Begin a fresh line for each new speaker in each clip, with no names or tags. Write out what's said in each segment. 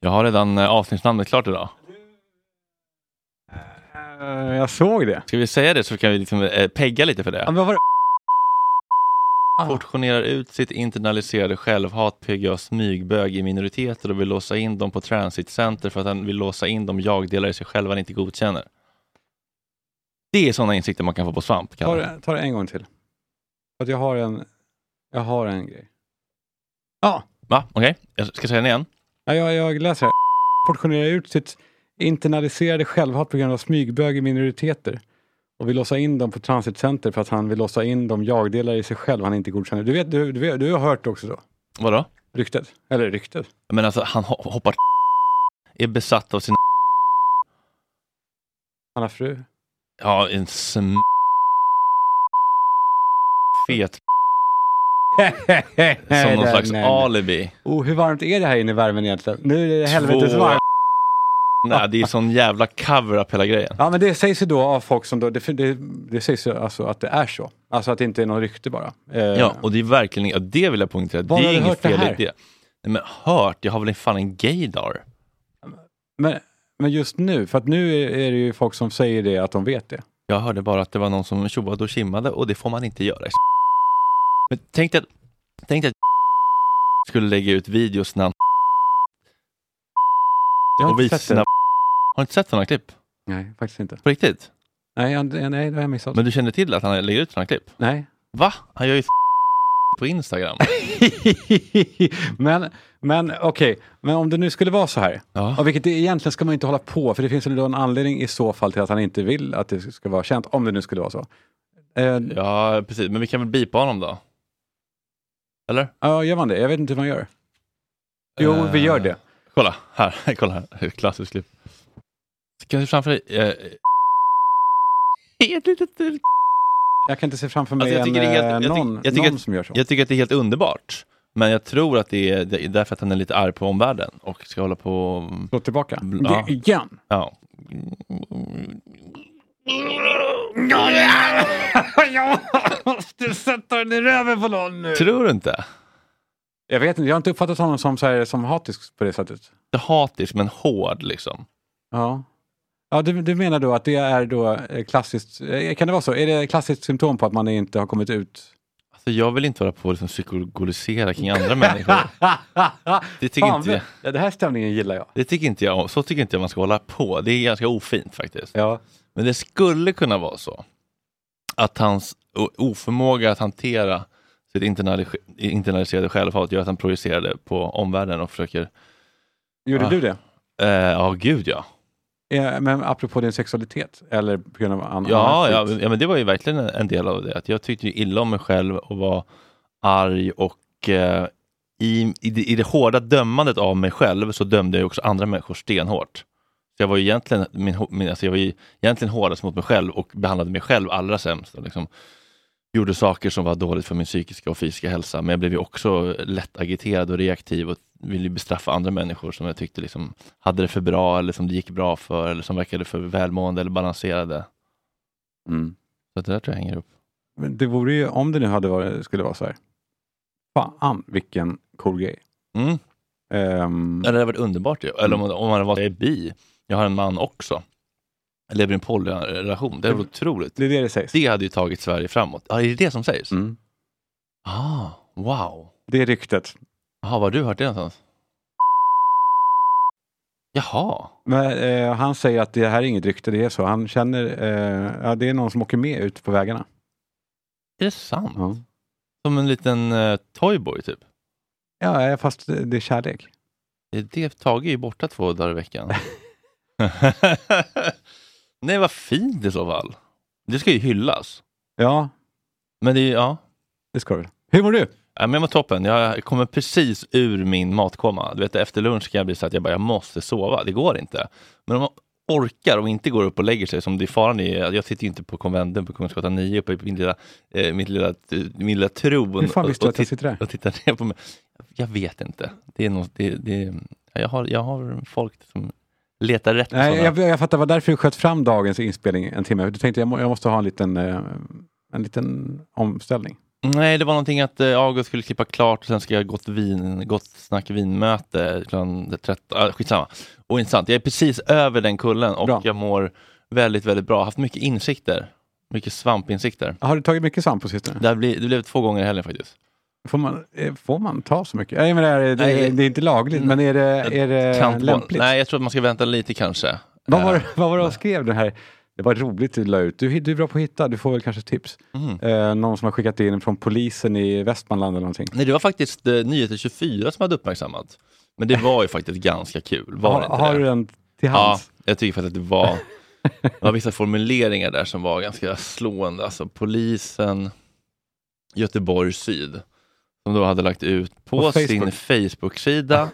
Jag har redan eh, avsnittsnamnet klart idag.
Eh, jag såg det.
Ska vi säga det så kan vi liksom, eh, pegga lite för det?
Ja, men vad var det?
Portionerar ut sitt internaliserade självhat, PGA smygbög i minoriteter och vill låsa in dem på transitcenter för att han vill låsa in dem jag-delar i sig själv han inte godkänner. Det är sådana insikter man kan få på svamp. Kan
Ta
man.
det, ta det en gång till. För att jag har en, jag har en grej. Ja,
Va? Okej, jag ska säga den igen.
ja, jag, jag läser här. Portionerar ut sitt internaliserade självhat på grund av smygbög i minoriteter och vill låsa in dem på transitcenter för att han vill låsa in dem jag-delar i sig själv han inte godkänner. Du, vet, du, du, vet, du har hört det också då?
Vadå?
Ryktet? Eller ryktet?
Men alltså, han ho- hoppar är besatt av sin
Anna fru?
Ja, en sm... Fet som någon slags alibi.
Oh, hur varmt är det här inne i värmen egentligen? Nu är det helvetes
Två-
varmt.
Nej, det är sån jävla cover-up hela grejen.
Ja, men det sägs ju då av folk som då, det, det, det sägs ju alltså att det är så. Alltså att det inte är något rykte bara. Eh,
Ja, och det är verkligen, ja, det vill jag poängtera, det
Var har
är
du
inget
hört det
fel i
här?
det. Nej men hört, jag har väl fan en gaydar.
men, men just nu, för att nu är, är det ju folk som säger det, att de vet det.
Jag hörde bara att det var någon som tjoade och kimmade och det får man inte göra. Men tänk dig att, tänk dig att skulle lägga ut videos när han
Jag
och
har inte
visa
sett det.
sina... Har du inte sett sådana klipp?
Nej, faktiskt inte.
På riktigt?
Nej, jag, nej det har jag missat.
Men du känner till att han lägger ut sådana klipp?
nej.
Va? Han gör ju på Instagram.
men men okej, men om det nu skulle vara så här.
Ja.
Och vilket det, egentligen ska man ju inte hålla på, för det finns ju då en anledning i så fall till att han inte vill att det ska vara känt, om det nu skulle vara så. Eh,
Ja, precis. Men vi kan väl bipa honom då? Eller?
Ja, gör man det? Jag vet inte hur man gör. Jo,
Eh,
vi gör det.
Kolla här, kolla här. Klassiskt klipp. Kan du se framför dig? Eh, ett litet,
Jag kan inte se framför
Alltså,
mig
jag tycker det
en,
är helt- jag
eh,
tycker-
någon,
jag tycker
någon
att-
som gör så.
jag tycker att det är helt underbart. Men jag tror att det är det är därför att han är lite arg på omvärlden och ska hålla på...
Slå tillbaka.
Mm, Ja.
Ge- Igen.
Ja.
Jag måste sätta den i röven på någon nu.
Tror du inte?
Jag vet inte, jag har inte uppfattat honom som, så här, som hatisk på det sättet.
Det är hatisk men hård liksom.
Ja. Ja, du, du menar då att det är då eh, klassiskt, eh, kan det vara så? Är det klassiskt symptom på att man inte har kommit ut?
Alltså, jag vill inte hålla på och liksom psykologisera kring andra människor. Det tycker
Fan,
inte jag.
Ja, den här stämningen gillar jag.
Det tycker inte jag om. Så tycker inte jag man ska hålla på. Det är ganska ofint faktiskt.
Ja.
Men det skulle kunna vara så att hans o- oförmåga att hantera sitt internalis- internaliserade självhat gör att han projicerar det på omvärlden och försöker...
Gjorde
Ah.
du det?
eh, Ja, gud ja.
Eh, Men apropå din sexualitet, eller på grund av annan
Ja, ja,
annan skit.
ja men det var ju verkligen en- en del av det. Att jag tyckte ju illa om mig själv och var arg och eh, i, i, det, i det hårda dömandet av mig själv så dömde jag ju också andra människor stenhårt. Så jag var ju egentligen, min, ho- min, alltså jag var ju egentligen hårdast mot mig själv och behandlade mig själv allra sämst. Och liksom, gjorde saker som var dåligt för min psykiska och fysiska hälsa, men jag blev ju också lätt agiterad och reaktiv och ville ju bestraffa andra människor som jag tyckte liksom hade det för bra eller som det gick bra för eller som verkade för välmående eller balanserade.
Mm.
Så det där tror jag hänger upp.
Men det vore ju, om det nu hade varit, skulle vara så här. Fan vilken cool grej.
Mm.
Ehm,
Det hade varit underbart ju. Eller om, om man hade varit jag är bi, jag har en man också. Jag lever i en polyrelation. Det hade varit otroligt.
det är det det sägs.
Det hade ju tagit Sverige framåt. Ja, är det det som sägs?
Mm.
Ah, wow.
Det är ryktet.
Jaha, var har du hört det någonstans? Jaha.
Men, eh, han säger att det här är inget rykte, det är så. Han känner, eh, ja, det är någon som åker med ut på vägarna.
Är det sant?
Ja.
Som en liten eh, toyboy typ.
Ja, eh, fast det är kärlek.
Det är det Tage är ju borta två dagar i veckan. Nej, vad fint i så fall. Det ska ju hyllas.
Ja,
Men det är ja.
det ska du. Hur mår du?
Ja, men jag mår toppen. Jag kommer precis ur min matkoma. Du vet, efter lunch kan jag bli så att jag bara, jag måste sova. Det går inte. Men om man orkar och inte går upp och lägger sig, som det är faran är, jag sitter ju inte på konventen på Kungsgatan 9 uppe i min lilla, eh, mitt lilla, min lilla tron.
Hur fan
och,
visste du
och
att jag
tit-
sitter där?
och tittar ner på mig. Jag vet inte. Det är något, det, det, jag, har, jag har folk som letar rätt på
Nej,
sådana.
jag, jag fattar, vad därför du sköt fram dagens inspelning en timme. Du tänkte jag, må, jag måste ha en liten, eh, en liten omställning.
Nej, det var någonting att eh, August skulle klippa klart och sen ska jag gått vin, gott snack vinmöte klockan 13. Ah, skitsamma. Ointressant. Jag är precis över den kullen och
Bra.
jag mår väldigt, väldigt bra. Haft mycket insikter. Mycket svampinsikter.
Har du tagit mycket svamp på sistone?
Det, här blir, det blev två gånger i helgen faktiskt.
Får man, eh, får man ta så mycket? Nej, men det, här, är- det,
Nej.
det är inte lagligt, men är det, är det
Kant-
lämpligt?
Nej, jag tror att man ska vänta lite kanske.
Vad var,
Eh,
det- vad var det han skrev den här? Det var roligt du la ut. Du, du är bra på att hitta, du får väl kanske tips.
Mm.
Eh, någon som har skickat in från polisen i Västmanland eller någonting.
Nej, det var faktiskt eh, Nyheter 24 som hade uppmärksammat. Men det var ju faktiskt ganska kul. Var det
Har,
inte
har
det?
du den till
Ja,
hands?
jag tycker faktiskt att det var, det var vissa formuleringar där som var ganska slående. Alltså polisen Göteborg syd, som då hade lagt ut på,
På
sin
Facebook.
Facebook-sida.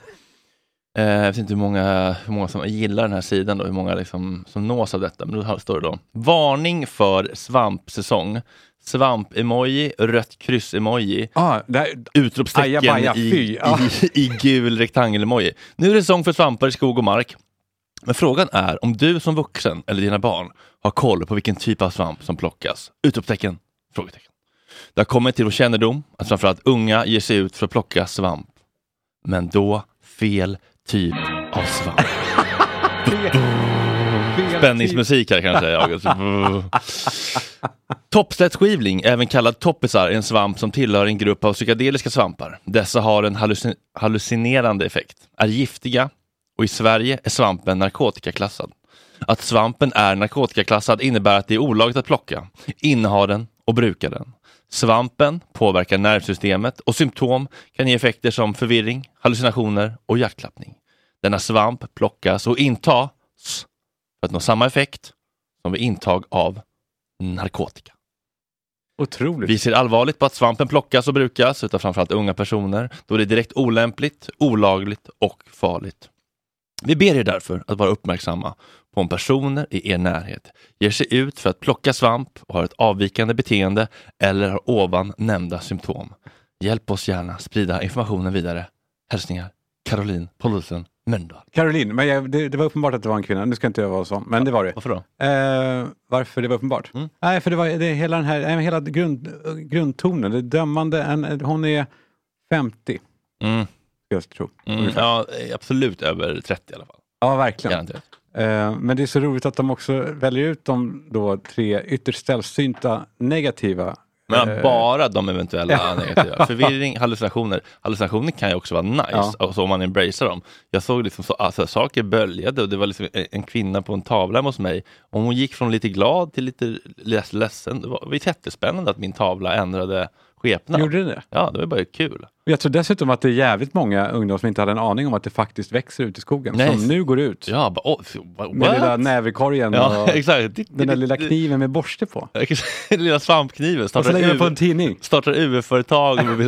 eh, jag vet inte hur många, hur många som gillar den här sidan, då, hur många liksom, som nås av detta. Men då står det då, varning för svampsäsong. Svamp-emoji, rött kryss-emoji,
Ja, det här,
utropstecken
Ajabaja, fy,
i,
ja.
i, i gul rektangel-emoji. Nu är det sång för svampar i skog och mark. Men frågan är om du som vuxen eller dina barn har koll på vilken typ av svamp som plockas? Utropstecken, frågetecken. Det har kommit till vår kännedom att framförallt unga ger sig ut för att plocka svamp. Men då fel typ av svamp. Spänningsmusik här kanske, August. Toppslättskivling, även kallad toppisar, är en svamp som tillhör en grupp av psykedeliska svampar. Dessa har en hallucin- hallucinerande effekt, är giftiga och i Sverige är svampen narkotikaklassad. Att svampen är narkotikaklassad innebär att det är olagligt att plocka, inneha den och bruka den. Svampen påverkar nervsystemet och symptom kan ge effekter som förvirring, hallucinationer och hjärtklappning. Denna svamp plockas och intas för att nå samma effekt som vid intag av narkotika.
Otroligt.
Vi ser allvarligt på att svampen plockas och brukas utav framförallt unga personer då det är direkt olämpligt, olagligt och farligt. Vi ber er därför att vara uppmärksamma på om personer i er närhet ger sig ut för att plocka svamp och har ett avvikande beteende eller har ovan nämnda symptom. Hjälp oss gärna sprida informationen vidare. Hälsningar Caroline Paulsen Mölndal.
Caroline, men jag, det, det var uppenbart att det var en kvinna. Nu ska inte jag vara sån, men det var det.
Varför då?
Eh, varför det var uppenbart?
Mm.
Nej, för det var det är hela den här nej, men hela grund, grundtonen, det dömande. En, hon är 50, ska
Mm,
jag tro.
mm,
Ungefär.
ja, absolut över 30 i alla fall.
Ja, verkligen.
Garanterat.
Eh, men det är så roligt att de också väljer ut de då tre ytterst sällsynta negativa.
Men
eh,
bara de eventuella negativa. Förvirring, hallucinationer. Hallucinationer kan ju också vara nice,
Ja.
alltså, om man embracerar dem. Jag såg liksom så, alltså, saker böljade och det var liksom en- en kvinna på en tavla hemma hos mig. Och hon gick från lite glad till lite less, ledsen. Det var, det var ju jättespännande att min tavla ändrade skepnad.
Gjorde det det?
Ja, det var bara kul.
Jag tror dessutom att det är jävligt många ungdomar som inte hade en aning om att det faktiskt växer ut i skogen,
Nej.
som nu går ut
Ja, bara, oh, f- what?
med lilla näverkorgen
ja,
och
exakt.
den där lilla kniven med borste på.
Den lilla svampkniven.
Och så
startar
lägger man på
ur-
en tidning.
startar UF-företag, och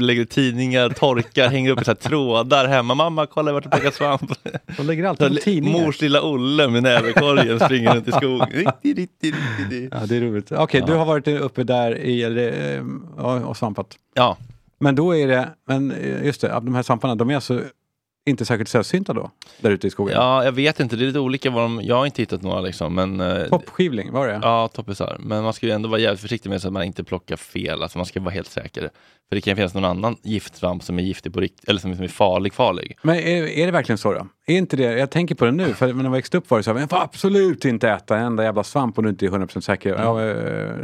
lägger ut tidningar, torkar, hänger upp i så här trådar hemma. Mamma, kolla vart jag plockar svamp.
De lägger alltid på tidningar.
Mors lilla Olle med näverkorgen springer runt i skogen.
Ja, det är roligt. Okej, du har varit uppe där i, eller, eh, ja, och svampat.
Ja,
Men då är det, men eh, just det, de här svamparna, de är alltså inte särskilt sällsynta då, där ute i skogen?
ja, jag vet inte. Det är lite olika vad de... Jag har inte hittat några liksom, men... eh,
Toppskivling, var det?
Ja, toppisar. Men man ska ju ändå vara jävligt försiktig med så att man inte plockar fel. Alltså man ska vara helt säker. För det kan ju finnas någon annan giftsvamp som är giftig på riktigt, eller som som är farlig, farlig.
Men är, är det verkligen så då? Är inte det, jag tänker på det nu, för när jag växte upp var det så här, men får absolut inte äta en enda jävla svamp om du inte är 100% säker.
Mm.
Ja, eh,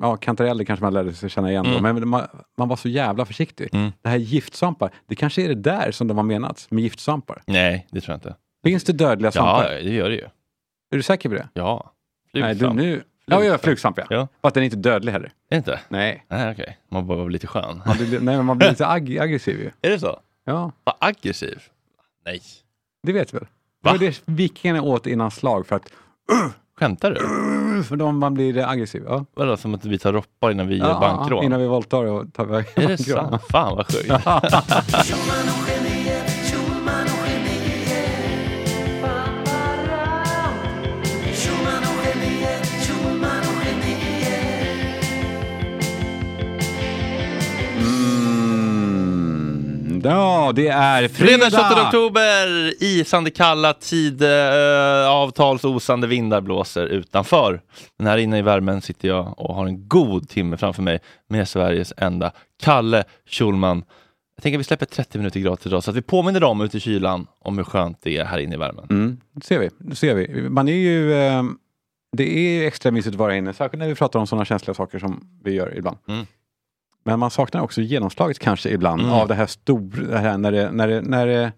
ja, kantareller kanske man lärde sig känna igen då,
Mm.
men man, man var så jävla försiktig. Det här giftsvampar, det kanske är det där som de har menat med giftsvampar.
Nej, det tror jag inte.
Finns det dödliga svampar?
Ja, ja, det gör det ju.
Är du säker på det?
Ja.
Nej, du
Flugsvamp.
nu... Ja, ja, flugsvamp ja.
Ja.
Fast den är inte dödlig heller.
Inte?
Nej.
Nej, okej. Man bara var lite skön.
Man blir, nej, men man blir lite ag- aggressiv ju.
Är det så?
Ja,
Vad aggressiv? Nej.
det vet vi väl? Det
Va?
var det vikingarna åt innan slag för att
Skämtar du?
för de, man blir aggressiv. Ja.
Vadå, som att vi tar roppar innan vi
Ja,
gör bankrån?
Innan vi våldtar och tar iväg
Är det sant? Fan vad sjukt.
Mm. Ja, det är
Fredag
fredag!
28 oktober, isande kalla, tid, eh, avtals osande vindar blåser utanför. Men här inne i värmen sitter jag och har en god timme framför mig med Sveriges enda Kalle Schulman. Jag tänker att vi släpper 30 minuter gratis idag så att vi påminner dem ute i kylan om hur skönt det är här inne i värmen.
Mm, det ser vi. Det ser vi. Man är ju, eh, det är ju extra mysigt att vara inne, särskilt när vi pratar om sådana känsliga saker som vi gör ibland.
Mm.
Men man saknar också genomslaget kanske ibland
Mm.
av det här stora, det här när det, när det, när det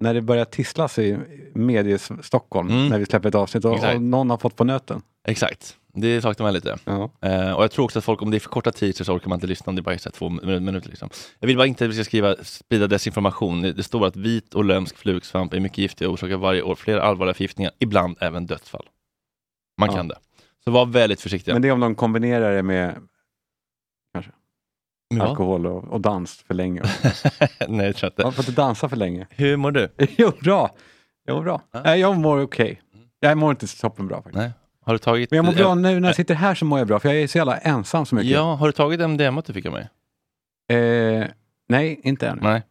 när det börjar tisslas i medies Stockholm,
Mm.
när vi släpper ett avsnitt och,
Exakt.
och någon har fått på nöten.
Exakt, det saknar man lite.
Ja.
Eh, och jag tror också att folk, om det är för korta teasers så orkar man inte lyssna, om det är bara extra två min- minuter. Liksom. Jag vill bara inte att vi ska skriva, sprida desinformation. Det det står att vit och lömsk flugsvamp är mycket giftig och orsakar varje år flera allvarliga förgiftningar, ibland även dödsfall. Man
Ja.
kan det. Så var väldigt försiktiga.
Men det är om de kombinerar det med
Men vad?
alkohol och, och dans för länge.
Nej, det tror jag
Jag har
inte.
fått dansa för länge.
Hur mår du?
Jo, bra. Jag mår bra.
Ja. Mm.
Nej, jag mår okej. Jag mår inte så toppen bra faktiskt.
Nej. Har du tagit...
Men jag mår bra
eh,
nu när jag sitter här så mår jag bra, för jag är så jävla ensam så mycket.
Ja, har du tagit MDMA du fick av mig?
Eh, nej, inte än.
Nej.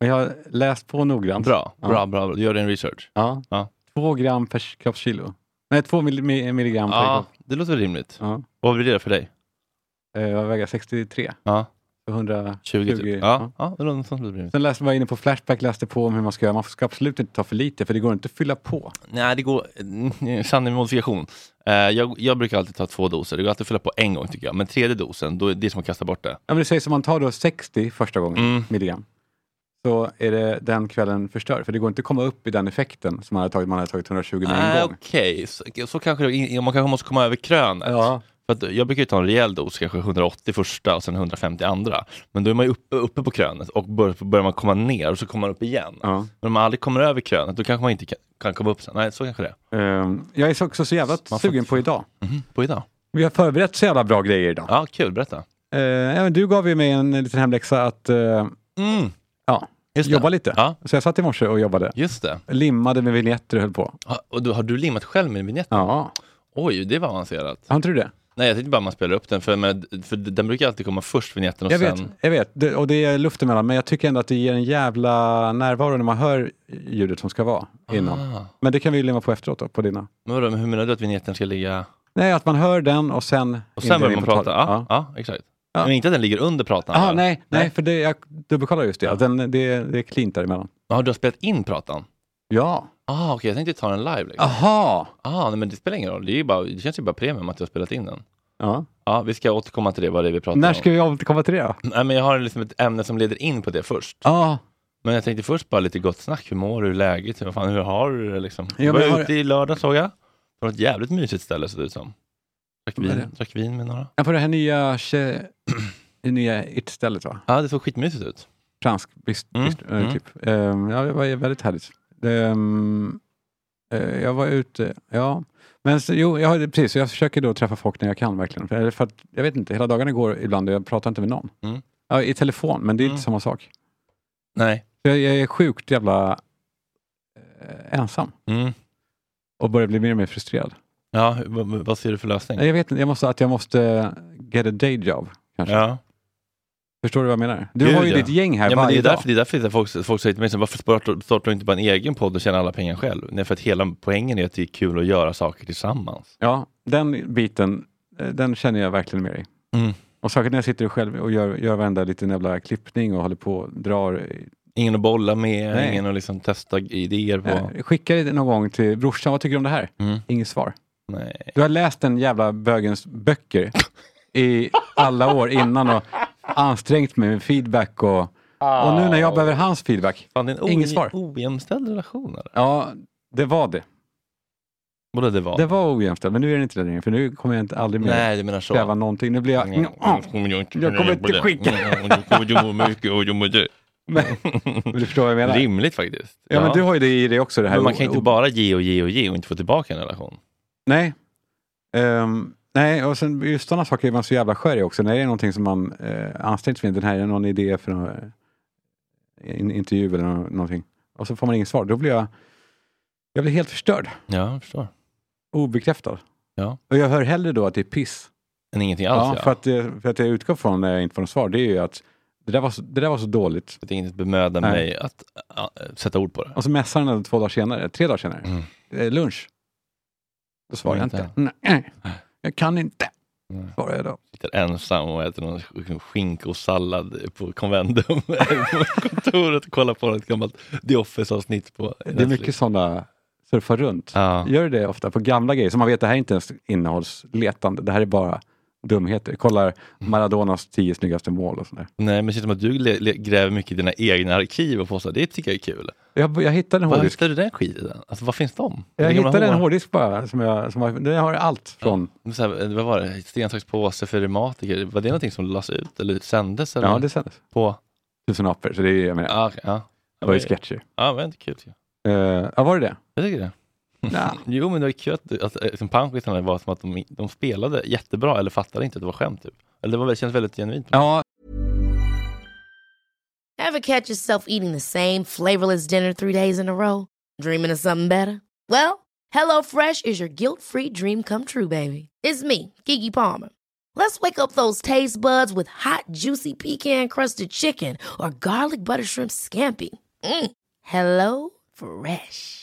Men jag har läst på noggrant.
Bra,
Ja.
bra, bra. Du gör din research.
Ja.
Ja.
Två gram per kroppskilo. Nej, två mil- mi- milligram per
Ja,
kropp.
det låter rimligt.
Ja.
Vad blir det för dig?
Eh, jag väger 63.
Ja,
120.
20 typ. Ja, ja det låter som det blir rimligt.
Sen läste, var jag inne på Flashback, läste på om hur man ska göra. Man ska absolut inte ta för lite, för det går inte att fylla på.
Nej, det går... mm, Sanning med modifikation. Eh, jag, jag brukar alltid ta två doser. Det går alltid att fylla på en gång tycker jag. Men tredje dosen, då är det som att kasta bort det.
Ja, men det sägs att man tar då 60 första gången,
Mm.
milligram, så är det den kvällen förstör. För det går inte att komma upp i den effekten som man hade tagit, man hade tagit 120 med en
Ah,
gång.
Okej, så, så kanske det, in- man kanske måste komma över krönet.
Ja.
För att jag brukar ju ta en rejäl dos, kanske 180 första och sen 150 andra. Men då är man ju uppe, uppe på krönet och bör, börjar man komma ner och så kommer man upp igen.
Ja.
Men om man aldrig kommer över krönet, då kanske man inte kan, kan komma upp sen. Nej, så kanske det är.
Ehm, jag är så- också så jävla
får
sugen
inte-
på idag.
Mhm, På idag.
Vi har förberett så jävla bra grejer idag.
Ja, kul. Berätta.
Eh, ja, men du gav ju mig en liten hemläxa att eh,
Mm,
ja,
just det.
jobba lite.
Ja,
Så jag satt i morse och jobbade.
just det.
Limmade med vignetter och höll på.
Ha, och du, har du limmat själv med vignett?
Ja,
Oj, det var avancerat.
har inte du det?
Nej, jag tänkte bara man spelar upp den, för, men, för den brukar alltid komma först, vignetten, och
Jag
sen...
vet, jag vet. Det, och det är luften mellan, men jag tycker ändå att det ger en jävla närvaro när man hör ljudet som ska vara innan.
Ah,
Men det kan vi ju limma på efteråt då, på dina.
men vadå, men hur menar du att vignetten ska ligga...
Nej, att man hör den och sen...
Och sen börjar
in
man
på
prata?
talet.
Ja, ja. exakt.
Ja.
Men inte att den ligger under pratan?
Ah,
eller?
nej, nej,
Nej.
för det, jag dubbelkollar just det.
Ja.
Att den, det, det är cleant däremellan.
Jaha, du har spelat in pratan?
Ja.
Ah, okej, jag tänkte ta den live. Liksom.
Aha!
Ah, nej, men det spelar ingen roll. Det, är ju bara, det känns ju bara premium att du har spelat in den.
Ja.
Ja, vi ska återkomma till det, vad det är vi pratar
När ska
om.
vi återkomma till det då?
Nej, men jag har liksom ett ämne som leder in på det först.
Ja,
Men jag tänkte först bara lite gott snack. Hur mår du? Hur är läget? Vad fan, hur har du det liksom?
men
Du var
jag har-
ute i lördag såg jag. På ett jävligt mysigt ställe såg det ut som. Drack
Vad är det?
vin, drack vin med några.
på det här nya, tje, det nya it-stället va?
Ja, det såg skitmysigt ut.
Fransk bist,
Mm,
bist, eh,
mm.
typ. Ehm, ja, det var ju väldigt härligt. Ehm, eh, jag var ute, ja. Men så, jo, jag, har- precis, så jag försöker då träffa folk när jag kan verkligen. För, för att, jag vet inte, hela dagarna går ibland och jag pratar inte med någon.
Mm.
Ja, I telefon, men det är inte
Mm.
samma sak.
Nej.
Så Jag, jag är sjukt jävla eh, ensam
Mm.
och börjar bli mer och mer frustrerad.
Ja, hur- vad- vad vad ser du för lösning?
Nej, Jag vet inte, jag måste, att jag måste get a day job. Kanske.
Ja.
Förstår du vad jag menar? Du
Gud,
har ju
ja.
ditt gäng här
Ja, men det
varje
är
dag.
därför, det är därför det är folk, folk säger till mig, så, varför startar startar du inte bara en egen podd och tjänar alla pengar själv? Nej, för att hela poängen är att det är kul att göra saker tillsammans.
Ja, den biten, eh, den känner jag verkligen med dig.
Mm.
Och särskilt när jag sitter själv och gör, gör varenda liten jävla klippning och håller på och drar eh, i
Ingen att bolla med,
Nej.
ingen att liksom testa idéer på.
Eh, Skicka det någon gång till brorsan, vad tycker du om det här?
Mm.
Inget svar.
Nej.
Du har läst den jävla bögens böcker i alla år innan och ansträngt mig med feedback och, och nu när jag behöver hans feedback.
Fan, det är en
Inget
oj-
svar.
ojämställd relation. Eller?
Ja, det var det.
Både det var.
Det var ojämställt, men nu är det inte det längre för nu kommer jag inte, aldrig mer
Nej, du menar så.
kräva någonting. Nu blir jag...
Mm.
Jag kommer inte skicka. Men, men du förstår vad jag menar?
Rimligt faktiskt.
Ja, men du har ju det i dig också. Det här.
Men man kan inte
O-
bara ge och ge och ge och inte få tillbaka en relation.
Nej. Ehm, nej, och sen just sådana saker är man så jävla skör i också. När det är någonting som man eh, ansträngt sig med. Den här är någon idé för någon, eh, en intervju eller nå- någonting. Och så får man inget svar. Då blir jag, jag blir helt förstörd.
Ja, jag förstår.
Obekräftad.
Ja.
Och jag hör hellre då att det är piss.
Men ingenting alls.
ja,
ja.
för, att, det- för att jag utgår från när jag inte får något svar. Det är ju att det där var så, det där var så dåligt.
Att det inte bemöda
Nej.
mig att ja, sätta ord på det.
Och så messar den två dagar senare, tre dagar senare.
Mm.
Eh, lunch. Då svarar jag
Inte.
inte. Nej, jag kan inte.
Nej.
Svarar jag då.
Sitter ensam och äter någon liksom skinkosallad på Convendum på kontoret och kollar på ett gammalt The Office-avsnitt på
Det är mycket sådana surfa runt.
Ja.
Gör du det ofta på gamla grejer? Så man vet, det här är inte ens innehållsletande. Det här är bara dumheter. Kollar Maradonas tio snyggaste mål och sådär.
Nej, men det känns som att du le- le- gräver mycket i dina egna arkiv och påstår det tycker jag är kul.
Jag, jag hittade en
Var
hårddisk.
hittar du den skiten? Alltså, var finns de?
Jag
Vilka
hittade en
gamla
hårddisk bara. Som jag, som jag, den har allt från...
Men Så här, vad var det? Sten, sax, påse för reumatiker. Var det någonting som lades ut eller sändes? Eller?
Ja, det sändes.
På?
Tusen apor. Så det, är, jag menar,
Ja, okej, ja.
det var ju
Men-
sketcher.
Ja, men det är kul. tycker jag.
Eh, ja, var det det?
Jag tycker det.
Nja.
Jo, men det var kul att att, eh, liksom, panschisarna var som att de, de spelade jättebra eller fattade inte att det var skämt. Typ. Eller det, var, det kändes väldigt genuint.
Ja,
Ever catch yourself eating the same flavorless dinner three days in a row? Dreaming of something better? Well, HelloFresh is your guilt-free dream come true, baby. It's me, Gigi Palmer. Let's wake up those taste buds with hot, juicy pecan-crusted chicken or garlic butter shrimp scampi. Mm. Hello Fresh.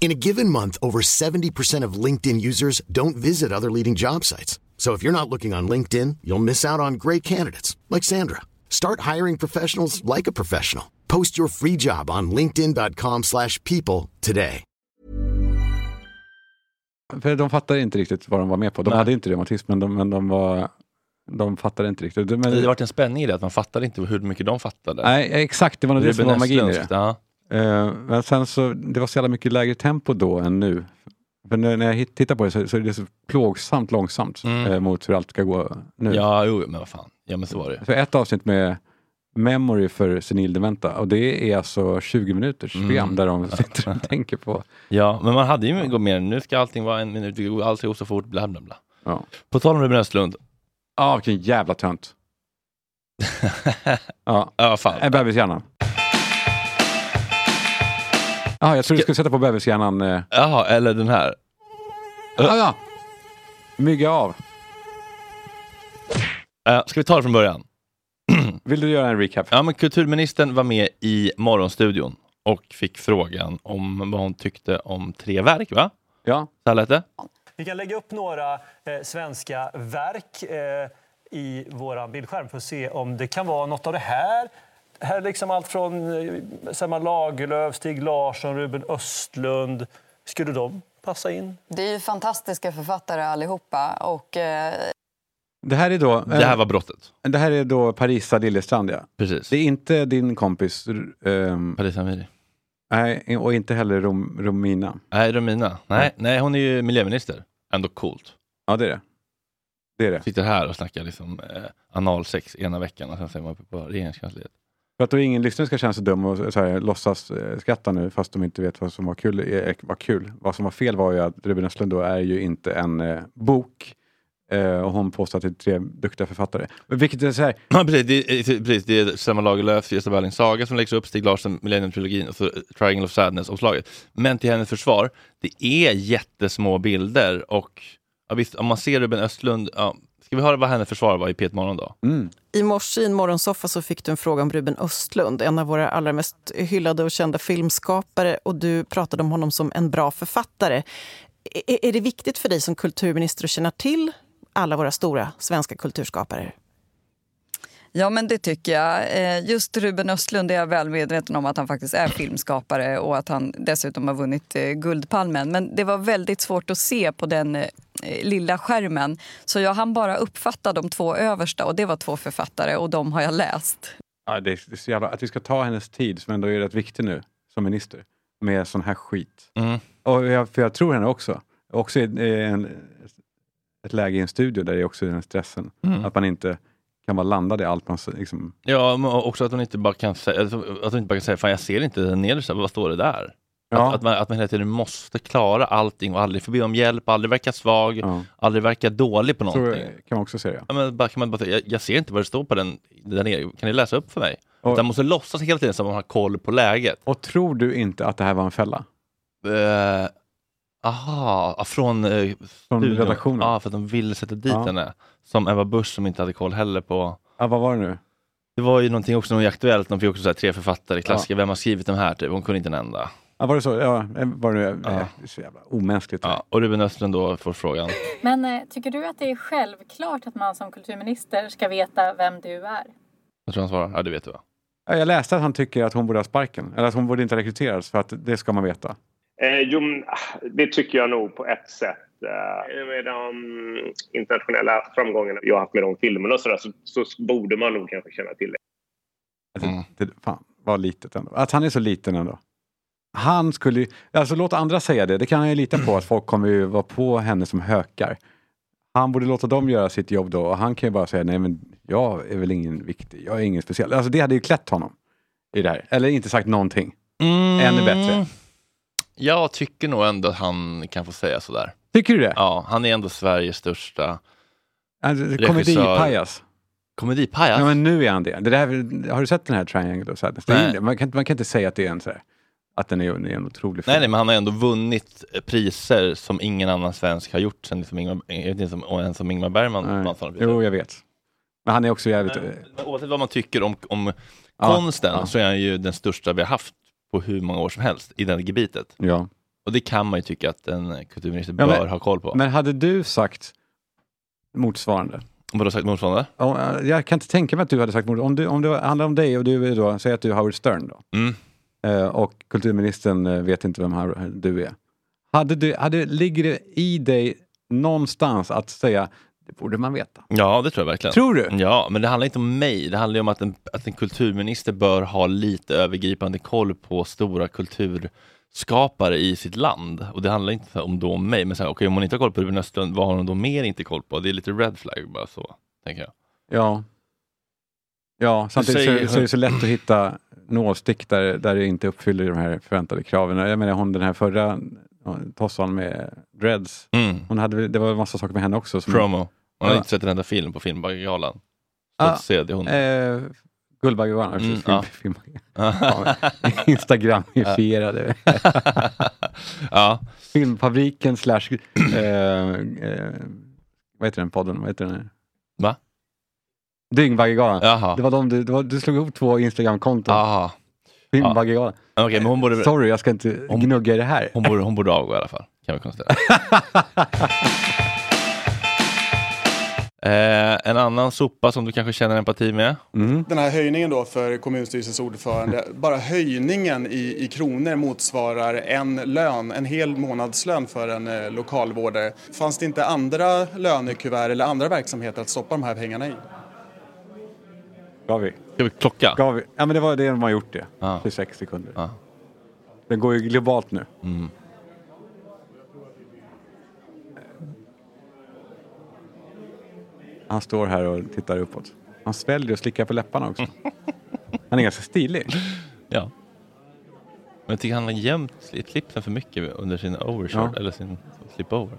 In a given month, over 70% of LinkedIn users don't visit other leading job sites. So if you're not looking on LinkedIn, you'll miss out on great candidates like Sandra. Start hiring professionals like a professional. Post your free job on linkedin.com/people slash people today.
för de fattade inte riktigt vad de var med på. De
Nej.
hade inte reumatism, men de, men de, var, de fattade inte riktigt. Men,
Det har varit en spänning i det, att man fattade inte hur mycket de fattade.
nej, exakt, det var nog det som var magin i det.
Estlundskt, ja.
Eh, men sen så, det var så jävla mycket lägre tempo då än nu. För när när jag hit- tittar på det så, så är det så plågsamt långsamt
Mm.
eh, mot hur allt ska gå nu.
ja, jo, men vad fan. Ja, men så var det.
Så ett avsnitt med Memory för senildementa och det är alltså 20 minuters
Mm.
program där de sitter och tänker på.
Ja, men man hade ju gått med nu ska allting vara en minut, det går- allt ska gå så fort, bla bla bla.
Ja,
På tal om Ruben Östlund.
ah, vilken jävla tönt. Ja,
ja, fan.
äh, bebishjärnan. Ah, jag trodde du skulle sätta på bebishjärnan. Eh.
Jaha, eller den här.
Ah, ja. Mygga av.
Eh, ska vi ta det från början?
Vill du göra en recap?
Ja, men kulturministern var med i Morgonstudion och fick frågan om vad hon tyckte om tre verk, va?
Ja.
Så här lät det.
Vi kan lägga upp några eh, svenska verk eh, i vår bildskärm för att se om det kan vara något av det här. Här är liksom allt från eh, Selma Lagerlöf, Stig Larsson, Ruben Östlund. Skulle de passa in?
Det är ju fantastiska författare allihopa. Och, eh,
Det här är då... eh,
Det här var brottet.
Det här är då Parisa Liljestrand, ja.
Precis.
Det är inte din kompis... r- ehm,
Paris Amiri.
Nej, och inte heller Rom, Romina.
Nej, Romina. Nej, nej, hon är ju miljöminister. Ändå coolt.
Ja, det är det. Det är det.
Sitter här och snackar liksom, eh, analsex ena veckan och sen så är man uppe på regeringskansliet.
För att då ingen lyssnare ska känna sig dum och så här, låtsas eh, skratta nu fast de inte vet vad som var kul. eh, Var kul. Vad som var fel var ju att Ruben Östlund då är ju inte en eh, bok eh, och hon påstår att det är tre duktiga författare. Men Vilket är så här,
Ja, precis. Det är, eh, precis, det är Selma Lagerlöfs Gösta Berlings saga som läggs upp, Stig Larsson, Millennium-trilogin och så Triangle of Sadness-omslaget. Men till hennes försvar, det är jättesmå bilder och ja, visst, om man ser Ruben Östlund, ja, ska vi höra vad hennes försvar var i P1 Morgon då?
mm.
I morse i en morgonsoffa så fick du en fråga om Ruben Östlund, en av våra allra mest hyllade och kända filmskapare. Och du pratade om honom som en bra författare. Är, är det viktigt för dig som kulturminister att känna till alla våra stora svenska kulturskapare?
Ja, men det tycker jag. Eh, Just Ruben Östlund är jag väl medveten om att han faktiskt är filmskapare och att han dessutom har vunnit eh, Guldpalmen. Men det var väldigt svårt att se på den eh, lilla skärmen så jag hann bara uppfatta de två översta och det var två författare och de har jag läst.
ja, det är det är så jävla, att vi ska ta hennes tid som ändå är rätt viktig nu som minister med sån här skit.
Mm.
Och jag, för jag tror henne också. Också i i en, ett läge i en studio där det är också den här stressen.
Mm.
Att man inte kan vara landad i allt man... s- Liksom,
Ja, men också att hon inte bara kan säga, att hon inte bara kan säga fan jag ser inte den nedersta, vad står det där? Att, att, man, att man hela tiden måste klara allting och aldrig få be om hjälp, aldrig verka svag,
ja.
aldrig verka dålig på
Så eh,
någonting.
kan man också säga.
Ja, men bara, kan man bara säga, jag, jag ser inte vad det står på den där nere, kan ni läsa upp för mig?
Och-
Utan man måste låtsas hela tiden som att man har koll på läget.
Och tror du inte att det här var en fälla?
Eh, aha, från, eh,
Från
studion.
redaktionen?
Ja, för att de ville sätta dit
Ja.
henne. Som Ebba Busch som inte hade koll heller på
Ja, vad var det nu?
Det var ju någonting också, något Aktuellt, de fick också så här, tre författare, klassiker, vem har skrivit den här? Typ. Hon kunde inte en enda.
Ja, var det så? Ja, var det nu?
Ja.
Det är så jävla omänskligt.
Ja. Och Ruben Östlund då får frågan.
Men eh, tycker du att det är självklart att man som kulturminister ska veta vem du är?
Jag tror han svarar, ja det vet du va?
Ja, Jag läste att han tycker att hon borde ha sparken. Eller att hon borde inte rekryteras, för att det ska man veta.
Eh, jo, men, ah, det tycker jag nog på ett sätt. Eh, med de internationella framgångarna jag har haft med de filmerna och sådär, så, så borde man nog kanske känna till det.
Alltså,
Mm.
det, fan, vad litet ändå. Att han är så liten ändå. Han skulle ju, alltså låt andra säga det, det kan han ju lita på att folk kommer ju vara på henne som hökar. Han borde låta dem göra sitt jobb då och han kan ju bara säga nej men jag är väl ingen viktig, jag är ingen speciell. Alltså det hade ju klätt honom i det här. Eller inte sagt någonting.
Mm.
Ännu bättre.
Jag tycker nog ändå att han kan få säga sådär.
Tycker du det?
Ja, han är ändå Sveriges största
Alltså, komedipajas.
komedipajas.
Ja, men nu är han det. det där, har du sett den här Triangle of Sadness? Det är
Nej.
ju det. Man, kan, inte- man kan inte säga att det är en, så här, att den är, är en otrolig
Nej,
film.
nej, men han har ändå vunnit eh, priser som ingen annan svensk har gjort sen liksom Ingmar, jag vet inte om, och ens som Ingmar Bergman. vann sådana priser.
Jo, jag vet. Men han är också jävligt...
Men- men Oavsett vad man tycker om, om
Ja,
konsten
ja.
så är han ju den största vi har haft på hur många år som helst i det gebitet.
Ja.
Och det kan man ju tycka att en kulturminister
Ja,
bör
men-
ha koll på.
Men hade du sagt motsvarande?
Vadå sagt motsvarande?
Om, eh, Jag kan inte tänka mig att du hade sagt motsvarande. Om, du, om det handlar om dig och du är då, säg att du är Howard Stern då,
Mm.
eh, och kulturministern eh, vet inte vem Howard- du är. Hade du, hade, ligger det i dig någonstans att säga, det borde man veta?
Ja, Mm. det tror jag verkligen.
Tror du?
Ja, men det handlar inte om mig. Det handlar ju om att en, att en kulturminister bör ha lite övergripande koll på stora kulturskapare i sitt land. Och det handlar inte om då om mig, men så här, okej, om hon inte har koll på Ruben Östlund, vad har hon då mer inte koll på? Det är lite red flag bara så, tänker jag.
Ja. Ja, samtidigt
säger-
så, så är det så lätt att hitta nålstick där, där det inte uppfyller de här förväntade kraven. Jag menar hon den här förra eh, tossan med dreads,
Mm.
hon hade, väl- det var en massa saker med henne också. Som,
Promo. Man har
Ja.
inte sett en enda film på Filmgalan.
Ah.
Så se, det är hon.
Eh, Guldbaggegalan,
Mm,
mm,
ja.
film, Instagramifierade.
ja,
Filmfabriken slash... Eh, eh, vad heter den podden? Vad heter den?
Va?
Dyngbaggegalan.
jaha.
Det var de du, det var, du slog ihop två Instagramkonton.
Aha.
Filmbaggegalan.
Okej, men hon borde...
Sorry, jag ska inte
Om-
gnugga i det här.
Hon borde, hon borde avgå i alla fall, kan vi konstatera. eh, en annan sopa som du kanske känner empati med.
Mm.
Den här höjningen då för kommunstyrelsens ordförande, bara höjningen i, i kronor motsvarar en lön, en hel månadslön för en eh, lokalvårdare. Fanns det inte andra lönekuvert eller andra verksamheter att stoppa de här pengarna i?
Gav vi.
Ska vi klocka?
Gav vi. Ja, men det var det de har gjort det.
Ja. Mm.
26 sekunder.
Ja.
Den går ju globalt nu. Han står här och tittar uppåt. Han sväljer och slickar på läpparna också. Han är ganska stilig.
Ja. Men jag tycker han har gömt i klipsen för mycket under sin overshirt, eller sin slip-over.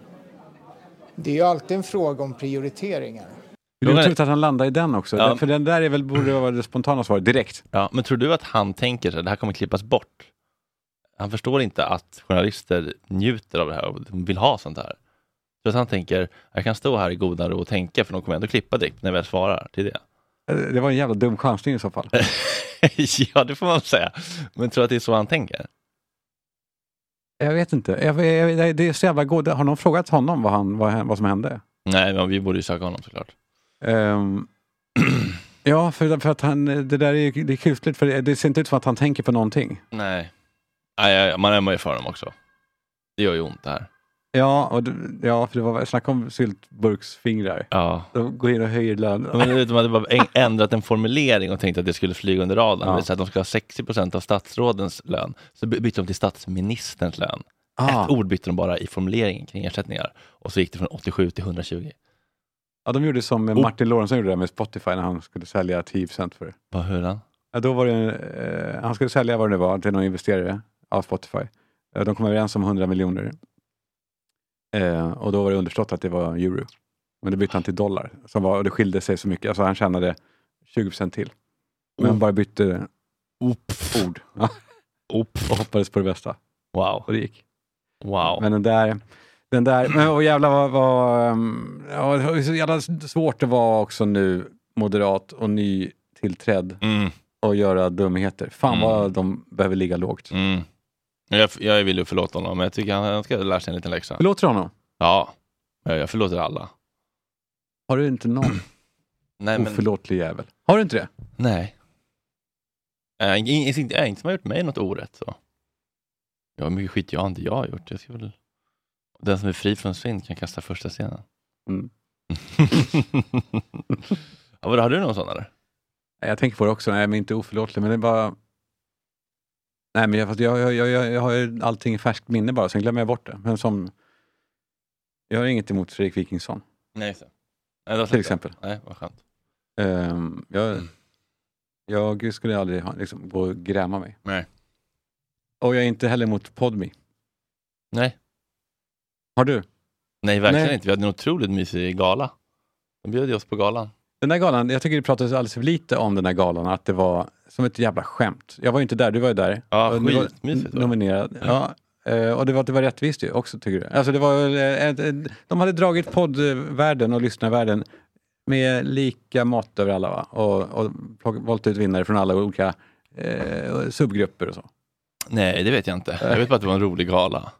Det är ju alltid en fråga om prioriteringar.
Det är otroligt att han landar i den också.
Ja.
För den där är väl, borde vara det spontana svaret direkt.
Ja, men tror du att han tänker så här, det här kommer klippas bort? Han förstår inte att journalister njuter av det här och de vill ha sånt här. Så att han tänker, jag kan stå här i godan ro och tänka för de kommer ändå klippa direkt när jag väl svarar till det.
Eh, Det var en jävla dum chansning i så fall.
ja, det får man säga. Men tror du att det är så han tänker?
Jag vet inte. Jag, jag, jag, det är så jävla god. Har någon frågat honom vad, han, vad, han- vad som hände?
Nej, men vi borde ju söka honom såklart.
Ehm, ja, för, för att han, det där är, ju- det är kusligt för det, det ser inte ut som att han tänker på någonting.
Nej. Nej, ja, ja, man ömmar ju för dem också. Det gör ju ont det här.
Ja, och det, ja för det var snacka om syltburksfingrar.
Ja.
De går in och höjer lönen.
Men det är som att de bara äng- ändrat en formulering och tänkt att det skulle flyga under radarn.
Ja.
Det är Så att de ska ha 60 procent av statsrådens lön. Så by- bytte de till statsministerns lön.
Ah.
Ett ord bytte de bara i formuleringen kring ersättningar. Och så gick det från 87 till 120.
Ja, de gjorde som
Oh.
Martin Lorentzon gjorde där med Spotify när han skulle sälja 10% för det.
Vad hur han?
Ja, då var det, eh, han skulle sälja vad det nu var till någon investerare av Spotify. Eh, De kom överens om 100 miljoner. Eh, och då var det underförstått att det var euro. Men det bytte han till dollar. Som var, och det skilde sig så mycket. Alltså han tjänade 20 till. Men
Mm.
han bara bytte ord. Ja. Och hoppades på det bästa.
Wow.
Och det gick.
Wow.
Men den där... Den där men, och jävlar vad... vad ehm, ja, det var så jävla svårt det var också nu, moderat och nytillträdd. Och göra dumheter. Fan
Mm.
vad de behöver ligga lågt.
Mm. Jag, jag vill ju förlåta honom, men jag tycker han, han ska lära sig en liten läxa.
Förlåter honom?
Ja, jag jag förlåter alla.
Har du inte någon
Nej, men,
oförlåtlig jävel? Har du inte det?
Nej. Äh, inte, inte, inte som har gjort mig något orätt. Så. Ja, hur mycket skit jag har inte jag har gjort. Jag ska väl... Den som är fri från synd kan kasta första stenen.
Mm.
ja, vadå, har du någon sån eller?
Nej, Jag tänker på det också. Nej, men inte oförlåtlig, men det är bara... Nej, men jag, fast jag, jag, jag, jag, jag har ju allting i färskt minne bara, sen glömmer jag bort det. Men som... Jag har inget emot Fredrik Wikingsson.
Nej, just det. Nej, det var
Till
sant.
exempel.
Nej, vad skönt.
Ehm, jag,
Mm.
jag skulle aldrig ha, liksom, gå och gräma mig.
Nej.
Och jag är inte heller emot Podmi.
Nej.
Har du?
Nej, verkligen
Nej.
inte. Vi hade en otroligt mysig gala. De bjöd ju oss på galan.
Den där galan, jag tycker det pratades alldeles för lite om den där galan, att det var som ett jävla skämt. Jag var ju inte där, du var ju där.
Ja,
Och du var
skitmysigt var det.
Nominerad. Ja. Eh, och det var, det var rättvist ju också, tycker du? Alltså det var, väl, eh, ett, ett, de hade dragit poddvärlden och lyssnarvärlden med lika mått över alla va? och, och plock, valt ut vinnare från alla olika eh, subgrupper och så.
Nej, det vet jag inte. Jag vet bara att det var en rolig gala.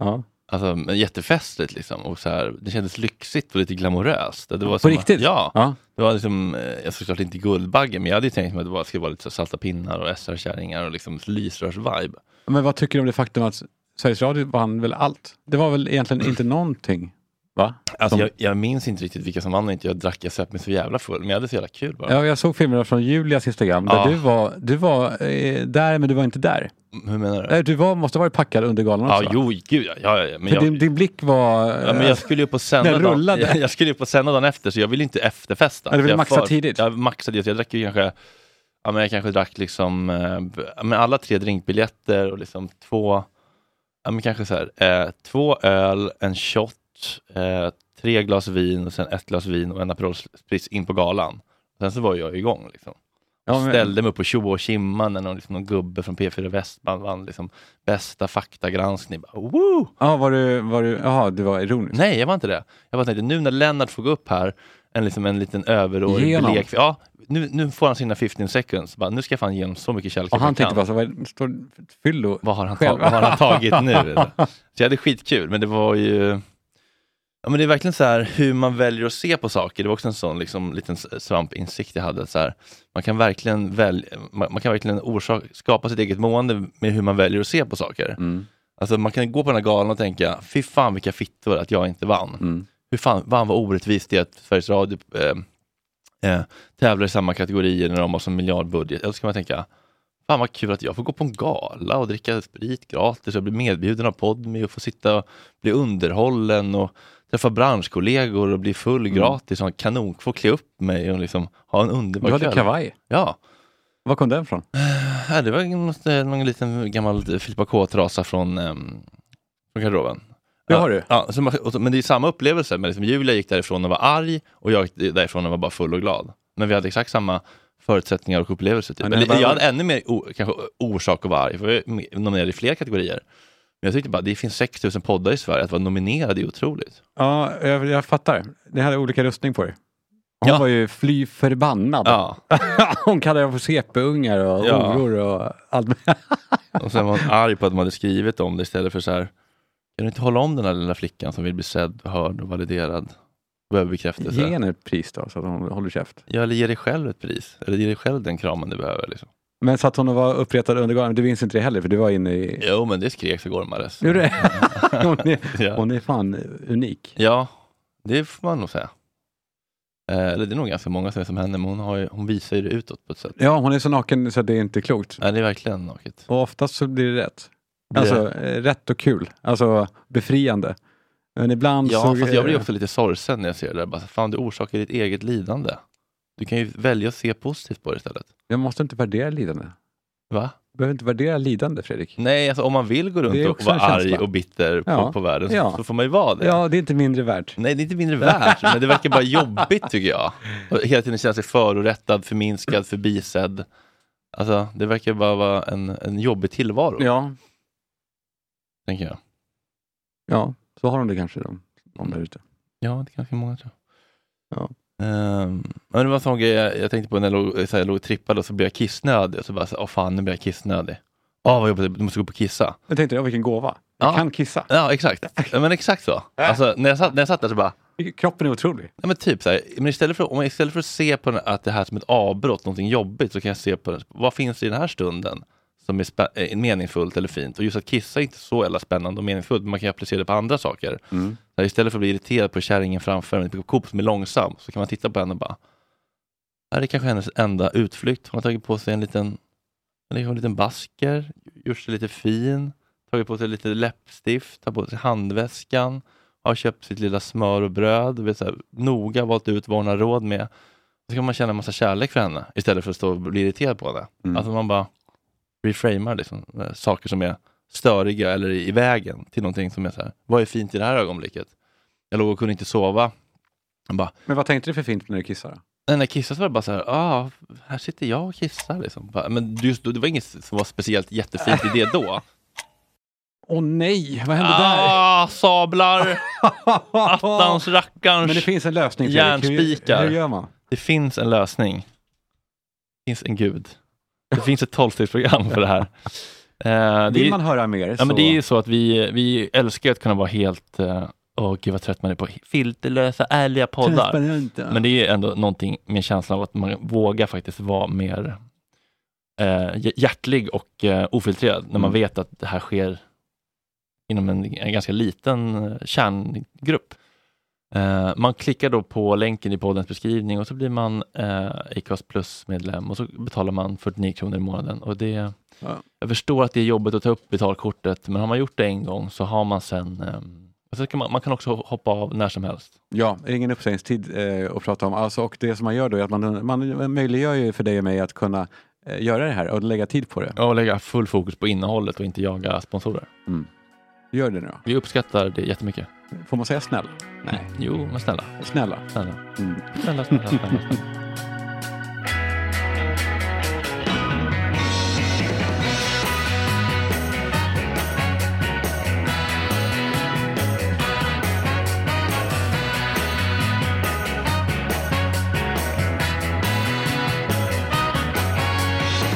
Ja.
Alltså, men jättefestligt liksom. Och så här, det kändes lyxigt och lite glamoröst. Det var
På
som-
riktigt?
Ja.
Ja.
Det var liksom, eh, jag såklart inte Guldbaggen, men jag hade ju tänkt mig att det bara skulle vara lite så salta pinnar och SR-kärringar och liksom lysrörs-vibe.
Men vad tycker du om det faktum att Sveriges Radio vann väl allt? Det var väl egentligen inte någonting? Va?
Alltså,
Som-
jag, jag minns inte riktigt vilka som vann och inte. Jag drack, jag söp mig så jävla full, men jag hade så jävla kul bara.
Ja, jag såg filmerna från Julias Instagram där
Ja.
du var, du var eh, där men du var inte där.
Hur menar du?
Nej, Du var, måste ha varit packad under galan också.
Ja, jo, gud ja. ja, ja, ja. Men
För
jag,
din, din blick var... eh,
ja, men jag skulle ju på sända
Den
dagen,
rullade.
jag, jag skulle ju på sända dagen efter, så jag ville inte efterfesta.
Ja, du ville
Jag
maxa tidigt.
Jag maxade tidigt. Jag drack ju kanske, ja, men jag kanske drack liksom, eh, b- ja, men alla tre drinkbiljetter och liksom två, ja, men kanske så här, eh, två öl, en shot, eh, tre glas vin och sen ett glas vin och en Aperol Spritz in på galan. Sen så var jag igång liksom.
Ja,
Och
men-
Ställde mig upp och tjoade och tjimmade när någon, liksom, någon gubbe från P4 Västman vann liksom, bästa faktagranskning. Bara, Woo!
Ja, var du... Var du jaha, du var ironisk.
Nej, jag var inte det. Jag bara tänkte, nu när Lennart får gå upp här, en, liksom, en liten
Ge
överårig
honom.
blek... Ja, nu, nu får han sina 15 seconds. Bara, nu ska jag fan ge honom så mycket kärlek
Och
jag
han
kan.
tänkte bara, så, vad står fyllo
Vad har han, ta- vad har han tagit nu? eller? så jag hade skitkul, men det var ju... Ja, men det är verkligen så här hur man väljer att se på saker. Det var också en sån liksom, liten s- svampinsikt jag hade. att Så här, man, kan verkligen väl, man, man kan verkligen orsak, skapa sitt eget mående med hur man väljer att se på saker.
Mm.
Alltså, man kan gå på den här galan och tänka, fy fan vilka fittor att jag inte vann. Hur fan, fan vad orättvist det är att Sveriges Radio eh, eh, tävlar i samma kategorier när de har som miljardbudget. Eller så kan man tänka, Fan vad kul att jag får gå på en gala och dricka sprit gratis och bli medbjuden av Podme och få sitta och bli underhållen och träffa branschkollegor och bli full
Mm.
gratis och ha en kanon, få klä upp mig och liksom ha en underbar
Du hade kavaj.
Ja.
Var kom den ifrån?
Ja, det var något, eh, någon liten gammal Filippa K-trasa från, ehm, från garderoben.
Det
Ja,
har du?
Ja, så man, och så- men det är samma upplevelse. Men liksom Julia gick därifrån och var arg och jag gick därifrån och var bara full och glad. Men vi hade exakt samma förutsättningar och upplevelser. Typ.
Men det här
Eller,
var-
Jag hade ännu mer o, kanske orsak att vara arg, för jag är nominerad i fler kategorier. Men jag tyckte bara det finns 6000 poddar i Sverige, att vara nominerad är otroligt.
Ja, jag, jag fattar. Det hade olika rustning på dig. Hon var ju fly förbannad.
Ja.
Hon kallade dem för CP-ungar och
Ja.
horor och allt
Och sen var hon arg på att man hade skrivit om det istället för så här, kan du inte hålla om den här lilla flickan som vill bli sedd, hörd och validerad? Och Behöver bekräftelse.
Ge henne ett pris då, så att hon håller käft.
Ja, eller ge dig själv ett pris. Eller ge dig själv den kramen du behöver. Liksom.
Men satt hon och var uppretad under galen? Du minns inte det heller, för du var inne i...
Jo, men det skreks och gormades.
Gjorde det? hon, är,
Ja.
hon är fan unik.
Ja, det får man nog säga. Eh, Eller det är nog ganska många som är som henne, men hon, har ju, hon visar ju det utåt på ett sätt.
Ja, hon är så naken så att det är inte klokt.
Nej, det är verkligen naket.
Och oftast så blir det rätt.
Blir
Alltså,
det-
eh, rätt och kul. Alltså, befriande. Men ibland
Ja,
så...
fast jag blir också lite sorgsen när jag ser det där. Bara, så, fan, du orsakar ditt eget lidande. Du kan ju välja att se positivt på det istället.
Jag måste inte värdera lidande.
Va?
Du behöver inte värdera lidande, Fredrik.
Nej, alltså, om man vill gå
Det är
runt och
också en
vara arg
känsla.
och bitter på,
Ja.
på världen så,
Ja.
så får man ju vara det.
Ja, det är inte mindre värt.
Nej, det är inte mindre värt, men det verkar bara jobbigt tycker jag. Och hela tiden känna sig förorättad, förminskad, förbisedd. Alltså, det verkar bara vara en, en jobbig tillvaro,
Ja,
tänker jag.
ja, så har de det kanske, de, de där ute.
Ja, det är ganska många tror
jag.
Ehm, men det var en sån grej jag, jag tänkte på när jag låg, så här, låg och trippade och så blev jag kissnödig. Och så bara, så, åh fan, nu blir jag kissnödig. Åh, vad jobbigt, du måste gå på och kissa.
Jag tänkte, ja, vilken gåva. Jag
Ja.
kan kissa.
Ja, exakt. Ja, Men exakt så. Alltså, när, jag satt, när jag satt där så bara...
Kroppen är otrolig.
Ja, men typ så här, men istället för, om jag, istället för att se på den, att det här som ett avbrott, någonting jobbigt, så kan jag se på den, vad finns i den här stunden som är, spä, är meningsfullt eller fint. Och just att kissa är inte så jävla spännande och meningsfullt, men man kan ju applicera det på andra saker.
Mm.
Så här, istället för att bli irriterad på kärringen framför en på Coop som är långsam, så kan man titta på henne och bara, "Det här är kanske hennes enda utflykt. Hon har tagit på sig en liten, en liten- en liten basker, gjort sig lite fin, tagit på sig lite läppstift, tagit på sig handväskan, har köpt sitt lilla smör och bröd, du vet, så här, noga valt ut vad hon har råd med. Så kan man känna en massa kärlek för henne istället för att stå och bli irriterad på henne. Alltså man bara reframar liksom, eh, saker som är störiga eller i i vägen till någonting som är så här, vad är fint i det här ögonblicket? Jag låg och kunde inte sova. Jag bara,
Men vad tänkte du för fint när du kissade? då?
Nej, när jag kissade så var det bara så här, ah, här sitter jag och kissar. Liksom. Bara, Men just då, det var inget som var speciellt jättefint i det då.
Åh nej, vad hände där?
Ah, sablar! Attans rackarns!
Men det finns en lösning. Fredrik. Hur-
Järnspikar.
Hur gör man?
Det finns en lösning. Det finns en gud. Det finns ett tolvstegsprogram för det här. Eh,
Vill
är-
man höra mer
Ja, men
så-
det är ju så att vi, vi älskar ju att kunna vara helt, eh, åh gud vad trött man är på filterlösa, ärliga poddar.
Transparenta.
Men det är ju ändå någonting med känslan av att man vågar faktiskt vara mer eh, hj- hjärtlig och eh, ofiltrerad när man
Mm.
vet att det här sker inom en, en ganska liten eh, kärngrupp. Eh, man klickar då på länken i poddens beskrivning och så blir man eh, Acast Plus-medlem och så betalar man 49 kronor i månaden. Och det,
Ja.
Jag förstår att det är jobbigt att ta upp betalkortet, men har man gjort det en gång så har man sen... Eh, och så kan man, man kan också hoppa av när som helst.
Ja, det är ingen uppsägningstid eh, att prata om. Alltså, och det som man gör då är att man, man möjliggör ju för dig och mig att kunna eh, göra det här och lägga tid på det.
Ja, och lägga full fokus på innehållet och inte jaga sponsorer.
Gör det nu då.
Vi uppskattar det jättemycket.
Får man säga snäll? Nej.
Jo, men snälla.
Snälla.
Snälla.
Mm.
Snälla, snälla, snälla.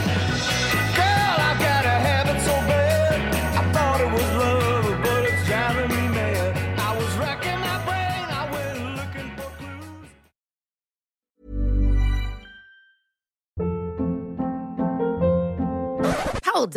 Girl, I got a habit so bad. I thought it was love, but it's driving me mad. I was racking my brain, I went looking for clues.
Hold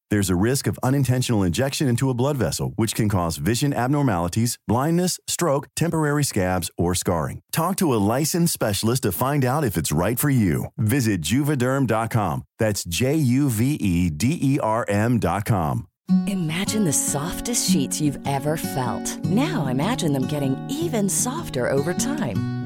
There's a risk of unintentional injection into a blood vessel, which can cause vision abnormalities, blindness, stroke, temporary scabs, or scarring. Talk to a licensed specialist to find out if it's right for you. Visit juvederm.com. That's J U V E D E R M.com.
Imagine the softest sheets you've ever felt. Now imagine them getting even softer over time.